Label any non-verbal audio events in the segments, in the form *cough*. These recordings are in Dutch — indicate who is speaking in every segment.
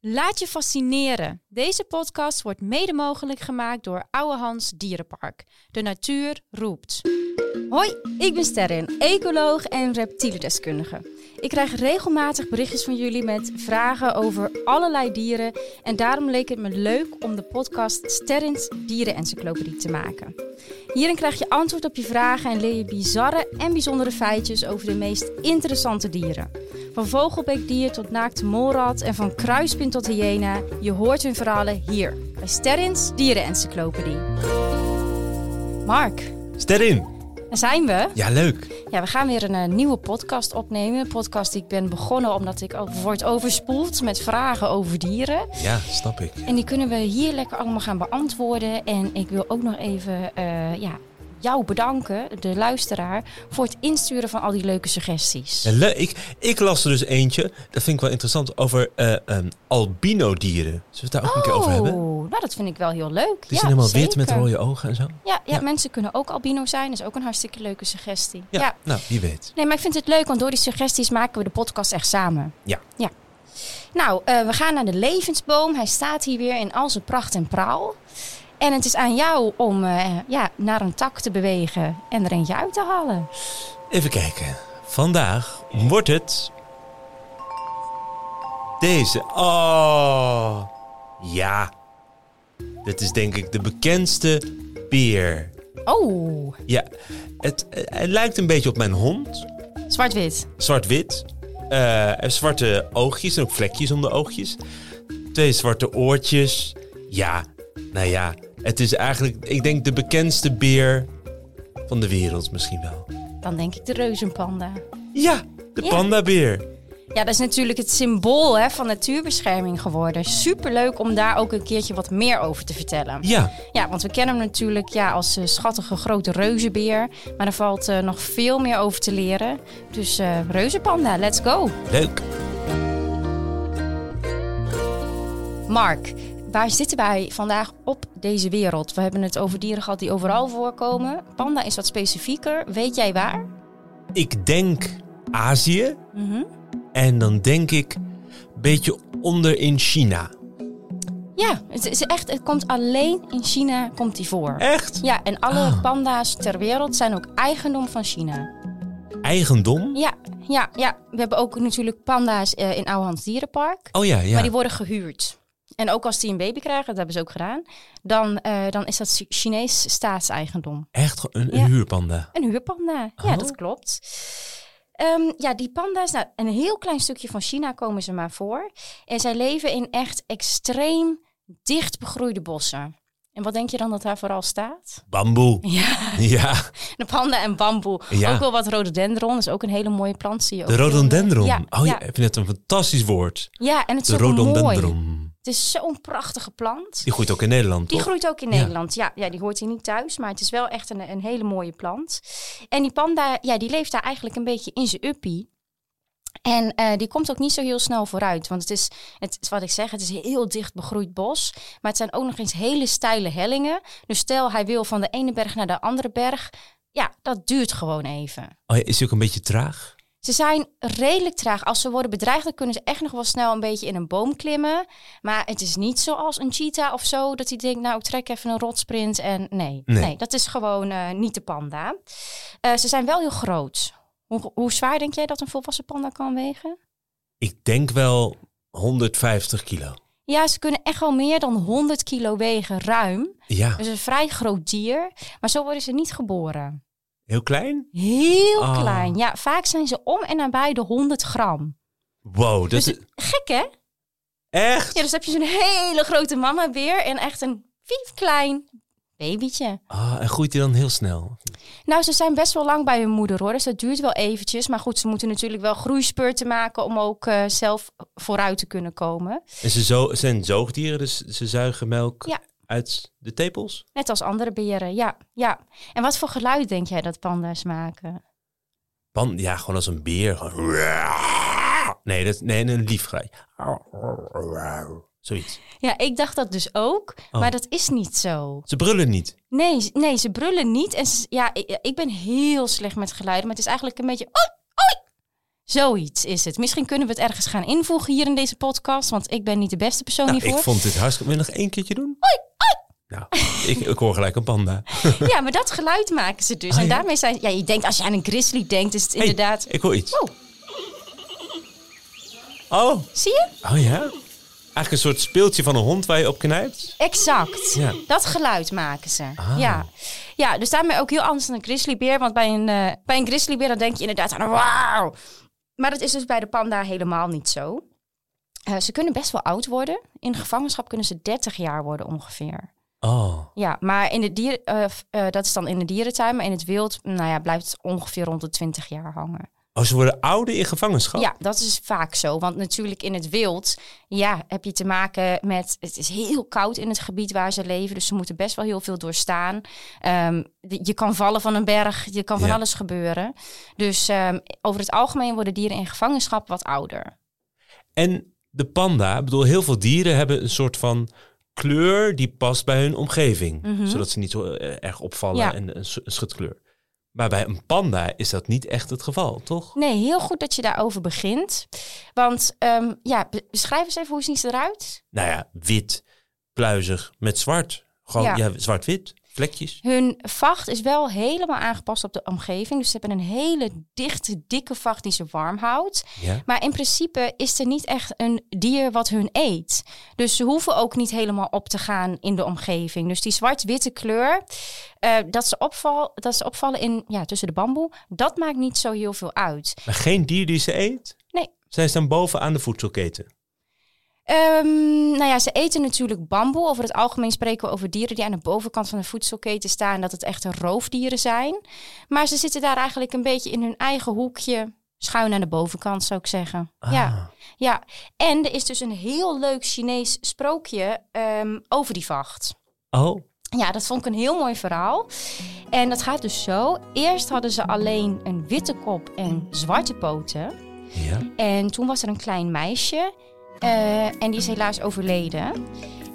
Speaker 1: Laat je fascineren. Deze podcast wordt mede mogelijk gemaakt door Oude Hans Dierenpark. De natuur roept. Hoi, ik ben Sterren, ecoloog en reptielendeskundige. Ik krijg regelmatig berichtjes van jullie met vragen over allerlei dieren. En daarom leek het me leuk om de podcast Sterrins Dierenencyclopedie te maken. Hierin krijg je antwoord op je vragen en leer je bizarre en bijzondere feitjes over de meest interessante dieren. Van vogelbekdier tot naakte molrat en van kruispin tot hyena. Je hoort hun verhalen hier bij Sterrins Dierenencyclopedie. Mark,
Speaker 2: Sterrin.
Speaker 1: daar zijn we.
Speaker 2: Ja, leuk.
Speaker 1: Ja, we gaan weer een eh, nieuwe podcast opnemen. Een podcast die ik ben begonnen omdat ik ook word overspoeld met vragen over dieren.
Speaker 2: Ja, snap ik.
Speaker 1: En die kunnen we hier lekker allemaal gaan beantwoorden. En ik wil ook nog even eh, ja, jou bedanken, de luisteraar, voor het insturen van al die leuke suggesties.
Speaker 2: Ja, le- ik, ik las er dus eentje, dat vind ik wel interessant, over eh ehm, albino-dieren. Zullen we het daar ook een keer over hebben?
Speaker 1: Oh, nou dat vind ik wel heel leuk.
Speaker 2: Het is helemaal wit met
Speaker 1: zeker.
Speaker 2: rode ogen en zo.
Speaker 1: Ja, ja,
Speaker 2: Ja.
Speaker 1: mensen kunnen ook albino zijn. Dat is ook een hartstikke leuke suggestie.
Speaker 2: Ja,
Speaker 1: ja.
Speaker 2: nou, wie weet.
Speaker 1: Nee, maar ik vind het leuk, want door die suggesties maken we de podcast echt samen.
Speaker 2: Ja.
Speaker 1: ja. Nou, eh, we gaan naar de levensboom. Hij staat hier weer in al zijn pracht en praal. En het is aan jou om eh, ja, naar een tak te bewegen en er eentje uit te halen.
Speaker 2: Even kijken. Vandaag wordt het... Deze. Oh. Ja. Dit is denk ik de bekendste beer.
Speaker 1: Oh,
Speaker 2: Ja, het, eh, het lijkt een beetje op mijn hond.
Speaker 1: zwart-wit.
Speaker 2: zwart-wit. Eh, en zwarte oogjes en ook vlekjes om de oogjes. Twee zwarte oortjes. Ja, nou ja, het is eigenlijk, ik denk, de bekendste beer van de wereld misschien wel.
Speaker 1: Dan denk ik de reuzenpanda.
Speaker 2: Ja, de
Speaker 1: Ja.
Speaker 2: pandabeer.
Speaker 1: Ja, dat is natuurlijk het symbool hè, van natuurbescherming geworden. Superleuk om daar ook een keertje wat meer over te vertellen.
Speaker 2: Ja,
Speaker 1: Ja, want we kennen hem natuurlijk ja, als eh, schattige grote reuzenbeer. Maar er valt eh, nog veel meer over te leren. Dus eh, reuzenpanda, let's go.
Speaker 2: leuk.
Speaker 1: Mark, waar zitten wij vandaag op deze wereld? We hebben het over dieren gehad die overal voorkomen. Panda is wat specifieker. Weet jij waar?
Speaker 2: Ik denk Azië
Speaker 1: Mhm.
Speaker 2: en dan denk ik een beetje onder in China.
Speaker 1: Ja, het, is echt, het komt alleen in China komt die voor.
Speaker 2: Echt?
Speaker 1: Ja, en alle
Speaker 2: Ah.
Speaker 1: panda's ter wereld zijn ook eigendom van China.
Speaker 2: Eigendom?
Speaker 1: Ja, ja, ja. we hebben ook natuurlijk panda's eh, in Ouwehands Dierenpark.
Speaker 2: Oh ja, ja.
Speaker 1: Maar die worden gehuurd. En ook als die een baby krijgen, dat hebben ze ook gedaan, dan, eh, dan is dat Chi- Chinees staatseigendom.
Speaker 2: Echt een, een
Speaker 1: Ja.
Speaker 2: huurpanda.
Speaker 1: Een huurpanda. Ja,
Speaker 2: Oh.
Speaker 1: dat klopt. Ehm, ja, die panda's, nou, een heel klein stukje van China komen ze maar voor. En zij leven in echt extreem dicht begroeide bossen. En wat denk je dan dat daar vooral staat?
Speaker 2: Bamboe.
Speaker 1: Ja,
Speaker 2: *laughs* Ja,
Speaker 1: de panda en bamboe.
Speaker 2: Ja.
Speaker 1: Ook wel wat rhododendron, dat is ook een hele mooie plant. Zie je ook
Speaker 2: de
Speaker 1: heel mooi.
Speaker 2: rhododendron.
Speaker 1: Ja,
Speaker 2: oh ja,
Speaker 1: ja.
Speaker 2: ik vind het een fantastisch woord.
Speaker 1: ja, en het is
Speaker 2: De
Speaker 1: ook mooi.
Speaker 2: rhododendron.
Speaker 1: Het is zo'n prachtige plant.
Speaker 2: Die groeit ook in Nederland,
Speaker 1: Die
Speaker 2: toch?
Speaker 1: groeit ook in
Speaker 2: Ja.
Speaker 1: Nederland. Ja. Ja, die hoort hier niet thuis, maar het is wel echt een, een hele mooie plant. En die panda, ja, die leeft daar eigenlijk een beetje in zijn uppie. En eh, die komt ook niet zo heel snel vooruit. Want het is, het is wat ik zeg, het is een heel dicht begroeid bos. Maar het zijn ook nog eens hele steile hellingen. Dus stel hij wil van de ene berg naar de andere berg. Ja, dat duurt gewoon even.
Speaker 2: Oh ja, is hij ook een beetje traag?
Speaker 1: Ze zijn redelijk traag. Als ze worden bedreigd, dan kunnen ze echt nog wel snel een beetje in een boom klimmen. Maar het is niet zoals een cheetah of zo, dat hij denkt, nou, ik trek even een rotsprint. En nee, nee.
Speaker 2: Nee.
Speaker 1: dat is gewoon eh, niet de panda. Eh, ze zijn wel heel groot. Hoe, hoe zwaar denk jij dat een volwassen panda kan wegen?
Speaker 2: Ik denk wel 150 kilo.
Speaker 1: Ja, ze kunnen echt wel meer dan 100 kilo wegen, ruim.
Speaker 2: Ja,
Speaker 1: Dus een vrij groot dier. Maar zo worden ze niet geboren.
Speaker 2: heel klein?
Speaker 1: Heel
Speaker 2: Ah.
Speaker 1: klein. Ja, vaak zijn ze om en nabij de 100 gram.
Speaker 2: Wow, dat
Speaker 1: Dus
Speaker 2: is
Speaker 1: Gek, hè?
Speaker 2: echt?
Speaker 1: Ja, dus heb je zo'n hele grote mama beer en echt een piep klein babytje.
Speaker 2: Ah, en groeit hij dan heel snel?
Speaker 1: Nou, ze zijn best wel lang bij hun moeder hoor, dus dat duurt wel eventjes. Maar goed, ze moeten natuurlijk wel groeispurten maken om ook eh, zelf vooruit te kunnen komen.
Speaker 2: En ze zo, zijn zoogdieren, dus ze zuigen melk
Speaker 1: Ja.
Speaker 2: uit de tepels?
Speaker 1: Net als andere beren, ja. ja. En wat voor geluid denk jij dat panda's maken?
Speaker 2: Pan, ja, gewoon als een beer. gewoon- Nee, dat, nee een lief geluid. Zoiets.
Speaker 1: Ja, ik dacht dat dus ook,
Speaker 2: Oh.
Speaker 1: maar dat is niet zo.
Speaker 2: Ze brullen niet.
Speaker 1: Nee, z- nee ze brullen niet. En ze- ja, ik, ik ben heel slecht met geluiden, maar het is eigenlijk een beetje... Oei, oei! Zoiets is het. Misschien kunnen we het ergens gaan invoegen hier in deze podcast, want ik ben niet de beste persoon
Speaker 2: Nou, ik
Speaker 1: hiervoor.
Speaker 2: vond dit hartstikke... Wil je nog één keertje doen? Nou, ik, ik hoor gelijk een panda.
Speaker 1: Ja, maar dat geluid maken ze dus.
Speaker 2: Oh,
Speaker 1: en
Speaker 2: ja.
Speaker 1: daarmee zijn ja, je denkt als je aan een grizzly denkt, is het
Speaker 2: Hey,
Speaker 1: inderdaad.
Speaker 2: ik hoor iets.
Speaker 1: Oh,
Speaker 2: Oh,
Speaker 1: zie je?
Speaker 2: oh ja. Eigenlijk een soort speeltje van een hond waar je op knijpt.
Speaker 1: Exact.
Speaker 2: Ja.
Speaker 1: Dat geluid maken ze.
Speaker 2: Ah.
Speaker 1: Ja. ja, dus daarmee ook heel anders dan een grizzlybeer. Want bij een, eh bij een grizzlybeer dan denk je inderdaad aan een wauw. Maar dat is dus bij de panda helemaal niet zo. Eh, ze kunnen best wel oud worden. In gevangenschap kunnen ze 30 jaar worden ongeveer.
Speaker 2: Oh,
Speaker 1: Ja, maar in de dier, eh, f- eh, dat is dan in de dierentuin. Maar in het wild nou ja, blijft het ongeveer rond de 20 jaar hangen.
Speaker 2: oh ze worden ouder in gevangenschap?
Speaker 1: Ja, dat is vaak zo. Want natuurlijk in het wild ja, heb je te maken met... Het is heel koud in het gebied waar ze leven. Dus ze moeten best wel heel veel doorstaan. Ehm, de- je kan vallen van een berg. Je kan van
Speaker 2: Ja.
Speaker 1: alles gebeuren. Dus ehm, over het algemeen worden dieren in gevangenschap wat ouder.
Speaker 2: En de panda, ik bedoel, heel veel dieren hebben een soort van kleur die past bij hun omgeving.
Speaker 1: Mhm.
Speaker 2: Zodat ze niet zo eh, erg opvallen
Speaker 1: Ja.
Speaker 2: en een, s- een schutkleur. Maar bij een panda is dat niet echt het geval, toch?
Speaker 1: Nee, heel goed dat je daarover begint. Want ehm, ja, be- beschrijf eens even hoe zien ze eruit?
Speaker 2: Nou ja, wit, pluizig met zwart. Gewoon
Speaker 1: Ja.
Speaker 2: ja. zwart-wit, vlekjes.
Speaker 1: Hun vacht is wel helemaal aangepast op de omgeving. Dus ze hebben een hele dichte, dikke vacht die ze warm houdt.
Speaker 2: Ja.
Speaker 1: Maar in principe is er niet echt een dier wat hun eet. Dus ze hoeven ook niet helemaal op te gaan in de omgeving. Dus die zwart-witte kleur, eh, dat, ze opval, dat ze opvallen in, ja, tussen de bamboe, dat maakt niet zo heel veel uit.
Speaker 2: Maar geen dier die ze eet?
Speaker 1: Nee.
Speaker 2: Zij staan bovenaan de voedselketen.
Speaker 1: Ehm, nou ja, ze eten natuurlijk bamboe. Over het algemeen spreken we over dieren die aan de bovenkant van de voedselketen staan, dat het echte roofdieren zijn. Maar ze zitten daar eigenlijk een beetje in hun eigen hoekje, schuin aan de bovenkant zou ik zeggen. Ja.
Speaker 2: Ah.
Speaker 1: Ja, en er is dus een heel leuk Chinees sprookje ehm, over die vacht.
Speaker 2: Oh,
Speaker 1: Ja, dat vond ik een heel mooi verhaal. En dat gaat dus zo. Eerst hadden ze alleen een witte kop en zwarte poten.
Speaker 2: ja.
Speaker 1: En toen was er een klein meisje. eh, en die is helaas overleden.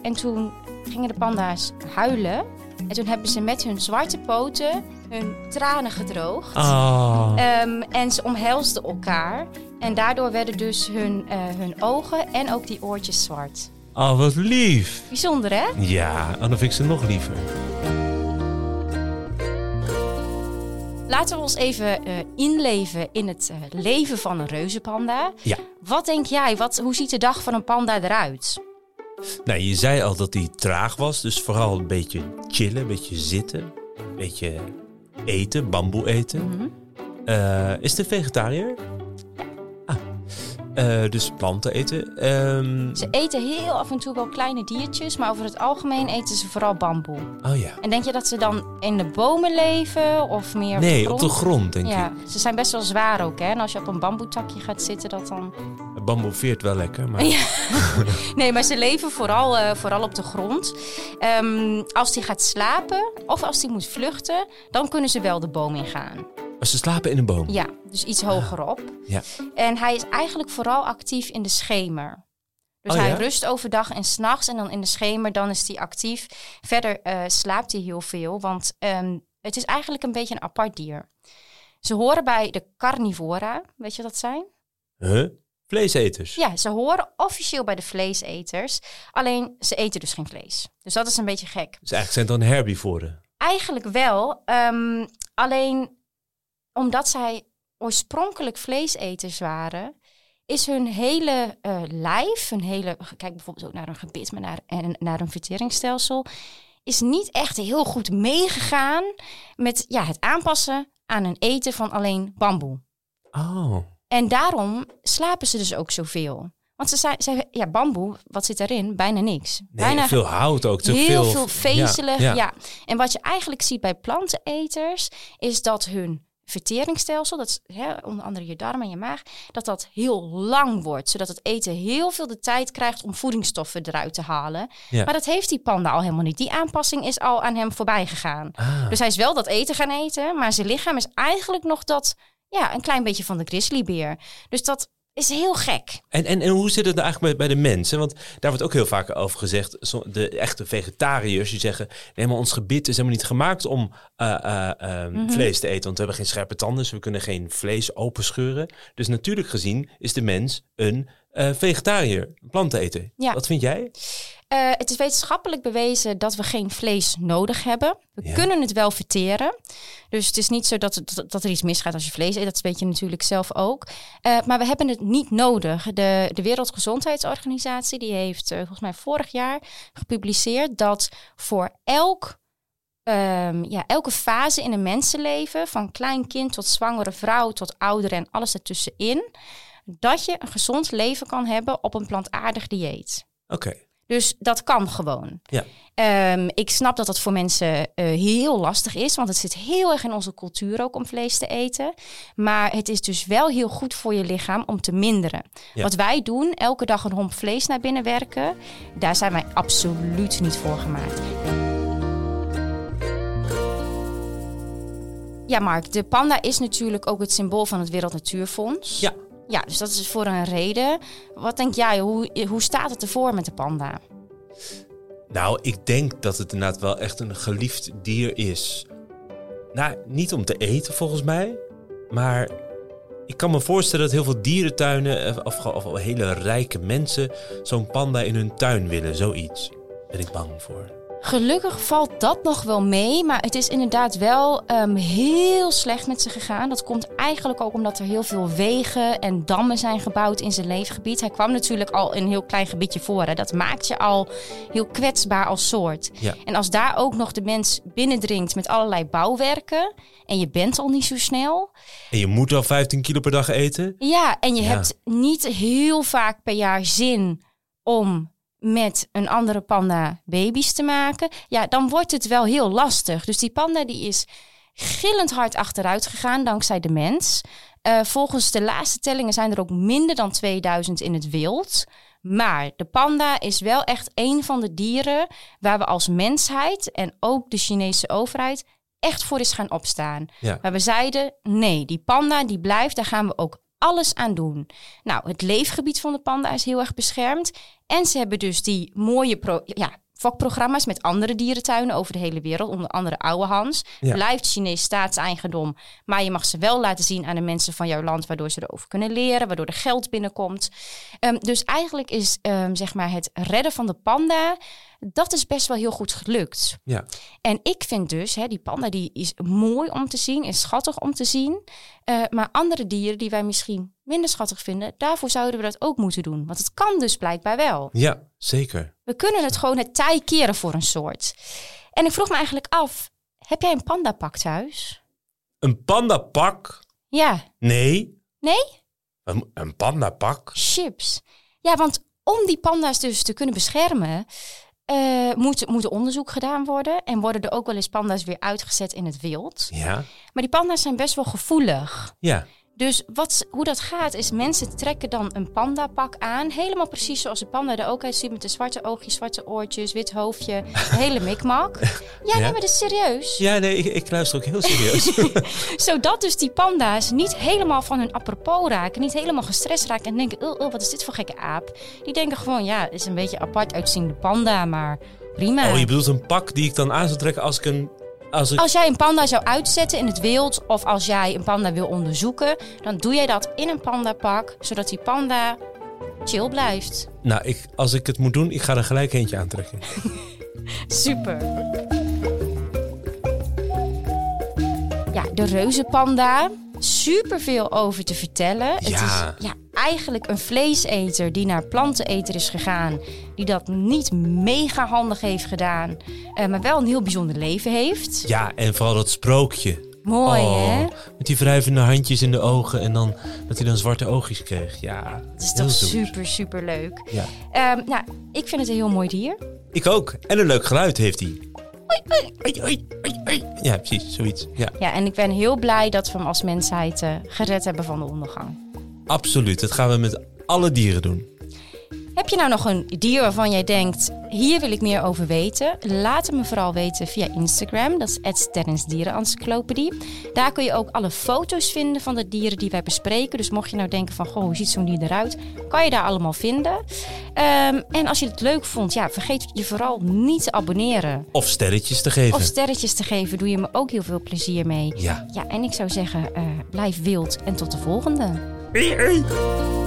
Speaker 1: En toen gingen de panda's huilen. En toen hebben ze met hun zwarte poten hun tranen gedroogd.
Speaker 2: Oh.
Speaker 1: Ehm, en ze omhelsden elkaar. En daardoor werden dus hun, eh, hun ogen en ook die oortjes zwart.
Speaker 2: oh, wat lief.
Speaker 1: Bijzonder, hè?
Speaker 2: Ja, en dan vind ik ze nog liever.
Speaker 1: Laten we ons even eh, inleven in het eh, leven van een reuzenpanda.
Speaker 2: Ja.
Speaker 1: Wat denk jij? Wat, hoe ziet de dag van een panda eruit?
Speaker 2: Nou, je zei al dat hij traag was, dus vooral een beetje chillen, een beetje zitten, een beetje eten, bamboe eten.
Speaker 1: Mhm.
Speaker 2: Eh, is de vegetariër? Ah, Eh, dus planten eten. Ehm,
Speaker 1: Ze eten heel af en toe wel kleine diertjes, maar over het algemeen eten ze vooral bamboe.
Speaker 2: oh ja.
Speaker 1: En denk je dat ze dan in de bomen leven of meer
Speaker 2: Nee,
Speaker 1: op
Speaker 2: op de grond denk
Speaker 1: Ja, ze zijn best wel zwaar ook, hè? En als je op een bamboetakje gaat zitten, dat dan...
Speaker 2: ik. Bamboe veert wel lekker, maar
Speaker 1: Ja. Nee, maar ze leven vooral, eh, vooral op de grond. Ehm, als die gaat slapen of als die moet vluchten, dan kunnen ze wel de boom ingaan.
Speaker 2: Maar ze slapen in een boom.
Speaker 1: Ja, dus iets hogerop.
Speaker 2: Ah. Ja.
Speaker 1: En hij is eigenlijk vooral actief in de schemer. Dus
Speaker 2: Oh,
Speaker 1: hij
Speaker 2: ja?
Speaker 1: rust overdag en s'nachts en dan in de schemer, dan is hij actief. Verder eh, slaapt hij heel veel, want ehm, het is eigenlijk een beetje een apart dier. Ze horen bij de carnivora, weet je wat dat zijn?
Speaker 2: Huh? Vleeseters.
Speaker 1: Ja, ze horen officieel bij de vleeseters. Alleen ze eten dus geen vlees. Dus dat is een beetje gek.
Speaker 2: Dus eigenlijk zijn het dan herbivoren.
Speaker 1: Eigenlijk wel. ehm, alleen omdat zij oorspronkelijk vleeseters waren, is hun hele eh, lijf, hun hele, kijk bijvoorbeeld ook naar een gebit, maar naar, en naar een verteringsstelsel, is niet echt heel goed meegegaan met ja, het aanpassen aan een eten van alleen bamboe.
Speaker 2: Oh.
Speaker 1: En daarom slapen ze dus ook zoveel. Want ze zijn, ze- ja, bamboe, wat zit daarin? Bijna niks.
Speaker 2: Nee,
Speaker 1: Bijna
Speaker 2: veel hout ook. Te
Speaker 1: heel veel
Speaker 2: ja,
Speaker 1: vezelig. Ja,
Speaker 2: ja.
Speaker 1: En wat je eigenlijk ziet bij planteneters, is dat hun verteringsstelsel, dat is hè, onder andere je darm en je maag, dat dat heel lang wordt. Zodat het eten heel veel de tijd krijgt om voedingsstoffen eruit te halen.
Speaker 2: Ja.
Speaker 1: Maar dat heeft die panda al helemaal niet. Die aanpassing is al aan hem voorbij gegaan.
Speaker 2: Ah.
Speaker 1: Dus hij is wel dat eten gaan eten, maar zijn lichaam is eigenlijk nog dat, ja, een klein beetje van de grizzlybeer. Dus dat Is heel gek.
Speaker 2: En, en, en hoe zit het nou eigenlijk bij, bij de mensen? Want daar wordt ook heel vaak over gezegd. zo- De echte vegetariërs die zeggen: nee, maar ons gebit is helemaal niet gemaakt om eh, eh, eh,
Speaker 1: Mhm.
Speaker 2: vlees te eten. Want we hebben geen scherpe tanden, dus we kunnen geen vlees openscheuren. Dus natuurlijk gezien is de mens een eh, vegetariër, een planteneter.
Speaker 1: Ja.
Speaker 2: Wat vind jij?
Speaker 1: Eh, het is wetenschappelijk bewezen dat we geen vlees nodig hebben. We
Speaker 2: Ja.
Speaker 1: kunnen het wel verteren. Dus het is niet zo dat, het- dat, dat er iets misgaat als je vlees eet. Dat weet je natuurlijk zelf ook. Eh, maar we hebben het niet nodig. De, de Wereldgezondheidsorganisatie die heeft eh, volgens mij vorig jaar gepubliceerd dat voor elk, ehm, ja, elke fase in een mensenleven, van klein kind tot zwangere vrouw tot ouder en alles ertussenin, dat je een gezond leven kan hebben op een plantaardig dieet.
Speaker 2: Oké.
Speaker 1: Dus dat kan gewoon.
Speaker 2: Ja.
Speaker 1: Ehm, ik snap dat dat voor mensen eh, heel lastig is, want het zit heel erg in onze cultuur ook om vlees te eten. Maar het is dus wel heel goed voor je lichaam om te minderen.
Speaker 2: Ja.
Speaker 1: Wat wij doen, elke dag een romp vlees naar binnen werken, daar zijn wij absoluut niet voor gemaakt. Ja, Mark, de panda is natuurlijk ook het symbool van het Wereld Natuurfonds.
Speaker 2: Ja.
Speaker 1: Ja, dus dat is voor een reden. Wat denk jij, hoe, hoe staat het ervoor met de panda?
Speaker 2: Nou, ik denk dat het inderdaad wel echt een geliefd dier is. Nou, niet om te eten volgens mij, maar ik kan me voorstellen dat heel veel dierentuinen eh, of, gewoon- of hele rijke mensen zo'n panda in hun tuin willen, zoiets. Ben ik bang voor.
Speaker 1: Gelukkig valt dat nog wel mee, maar het is inderdaad wel ehm, heel slecht met ze gegaan. Dat komt eigenlijk ook omdat er heel veel wegen en dammen zijn gebouwd in zijn leefgebied. Hij kwam natuurlijk al in een heel klein gebiedje voor. Hè. Dat maakt je al heel kwetsbaar als soort.
Speaker 2: Ja.
Speaker 1: En als daar ook nog de mens binnendringt met allerlei bouwwerken en je bent al niet zo snel,
Speaker 2: En je moet al 15 kilo per dag eten?
Speaker 1: Ja, en je
Speaker 2: Ja.
Speaker 1: hebt niet heel vaak per jaar zin om met een andere panda baby's te maken. Ja, dan wordt het wel heel lastig. Dus die panda die is gillend hard achteruit gegaan dankzij de mens. Eh, volgens de laatste tellingen zijn er ook minder dan 2000 in het wild. Maar de panda is wel echt een van de dieren waar we als mensheid en ook de Chinese overheid echt voor is gaan opstaan.
Speaker 2: Ja.
Speaker 1: Maar we zeiden, nee, die panda die blijft, daar gaan we ook alles aan doen. Nou, het leefgebied van de panda is heel erg beschermd. En ze hebben dus die mooie pro ja, vakprogramma's met andere dierentuinen over de hele wereld. Onder andere Oude Hans.
Speaker 2: Ja.
Speaker 1: Blijft Chinees staatseigendom. Maar je mag ze wel laten zien aan de mensen van jouw land. Waardoor ze erover kunnen leren. Waardoor er geld binnenkomt. Ehm, dus eigenlijk is ehm, zeg maar het redden van de panda. Dat is best wel heel goed gelukt.
Speaker 2: Ja.
Speaker 1: En ik vind dus, hè, die panda die is mooi om te zien, is schattig om te zien. Eh, maar andere dieren die wij misschien minder schattig vinden, daarvoor zouden we dat ook moeten doen. Want het kan dus blijkbaar wel.
Speaker 2: Ja, zeker.
Speaker 1: We kunnen het gewoon het tij keren voor een soort. En ik vroeg me eigenlijk af, heb jij een pandapak thuis?
Speaker 2: Een pandapak?
Speaker 1: Ja,
Speaker 2: Nee.
Speaker 1: nee?
Speaker 2: Een, een pandapak?
Speaker 1: Chips. Ja, want om die panda's dus te kunnen beschermen, eh, moet, moet er onderzoek gedaan worden. En worden er ook wel eens panda's weer uitgezet in het wild.
Speaker 2: Ja.
Speaker 1: Maar die panda's zijn best wel gevoelig.
Speaker 2: Ja.
Speaker 1: Dus wat, hoe dat gaat is, mensen trekken dan een pandapak aan. Helemaal precies zoals de panda er ook uitziet. Met de zwarte oogjes, zwarte oortjes, wit hoofdje. de hele
Speaker 2: *laughs*
Speaker 1: mikmak. Ja,
Speaker 2: Ja.
Speaker 1: nee, maar dat is serieus.
Speaker 2: Ja, nee, ik, ik luister ook heel serieus.
Speaker 1: Zodat dus die panda's niet helemaal van hun apropos raken. Niet helemaal gestrest raken. En denken, oh, wat is dit voor gekke aap? Die denken gewoon, ja, het is een beetje apart uitziende panda. Maar prima.
Speaker 2: Oh, je bedoelt een pak die ik dan aan zou trekken als ik een... Als ik...
Speaker 1: Als jij een panda zou uitzetten in het wild of als jij een panda wil onderzoeken, dan doe jij dat in een pandapak, zodat die panda chill blijft.
Speaker 2: Nou, ik, als ik het moet doen, ik ga er gelijk eentje aantrekken.
Speaker 1: Super. Ja, de reuzenpanda. Super veel over te vertellen. Het
Speaker 2: Ja.
Speaker 1: is ja, eigenlijk een vleeseter die naar planteneter is gegaan. Die dat niet mega handig heeft gedaan. eh, maar wel een heel bijzonder leven heeft.
Speaker 2: Ja, en vooral dat sprookje. Oh,
Speaker 1: Mooi hè?
Speaker 2: Met die wrijvende handjes in de ogen en dan dat hij dan zwarte oogjes kreeg. Ja,
Speaker 1: Het is
Speaker 2: heel
Speaker 1: toch
Speaker 2: zoet.
Speaker 1: super, super leuk.
Speaker 2: Ja.
Speaker 1: Ehm, nou, ik vind het een heel mooi dier.
Speaker 2: Ik ook. En een leuk geluid heeft hij. Oei, oei, oei, oei. Ja, precies, zoiets. Ja,
Speaker 1: Ja, en ik ben heel blij dat we hem als mensheid eh, gered hebben van de ondergang.
Speaker 2: absoluut. Dat gaan we met alle dieren doen.
Speaker 1: Heb je nou nog een dier waarvan jij denkt, hier wil ik meer over weten? Laat het me vooral weten via Instagram, dat is Terrens Dierenencyclopedie. Daar kun je ook alle foto's vinden van de dieren die wij bespreken. Dus mocht je nou denken van, goh, hoe ziet zo'n dier eruit? Kan je daar allemaal vinden. Ehm, en als je het leuk vond, ja, vergeet je vooral niet te abonneren.
Speaker 2: Of sterretjes te geven.
Speaker 1: Of sterretjes te geven, doe je me ook heel veel plezier mee.
Speaker 2: ja.
Speaker 1: Ja, en ik zou zeggen, eh, blijf wild en tot de volgende.
Speaker 2: Hey, hey.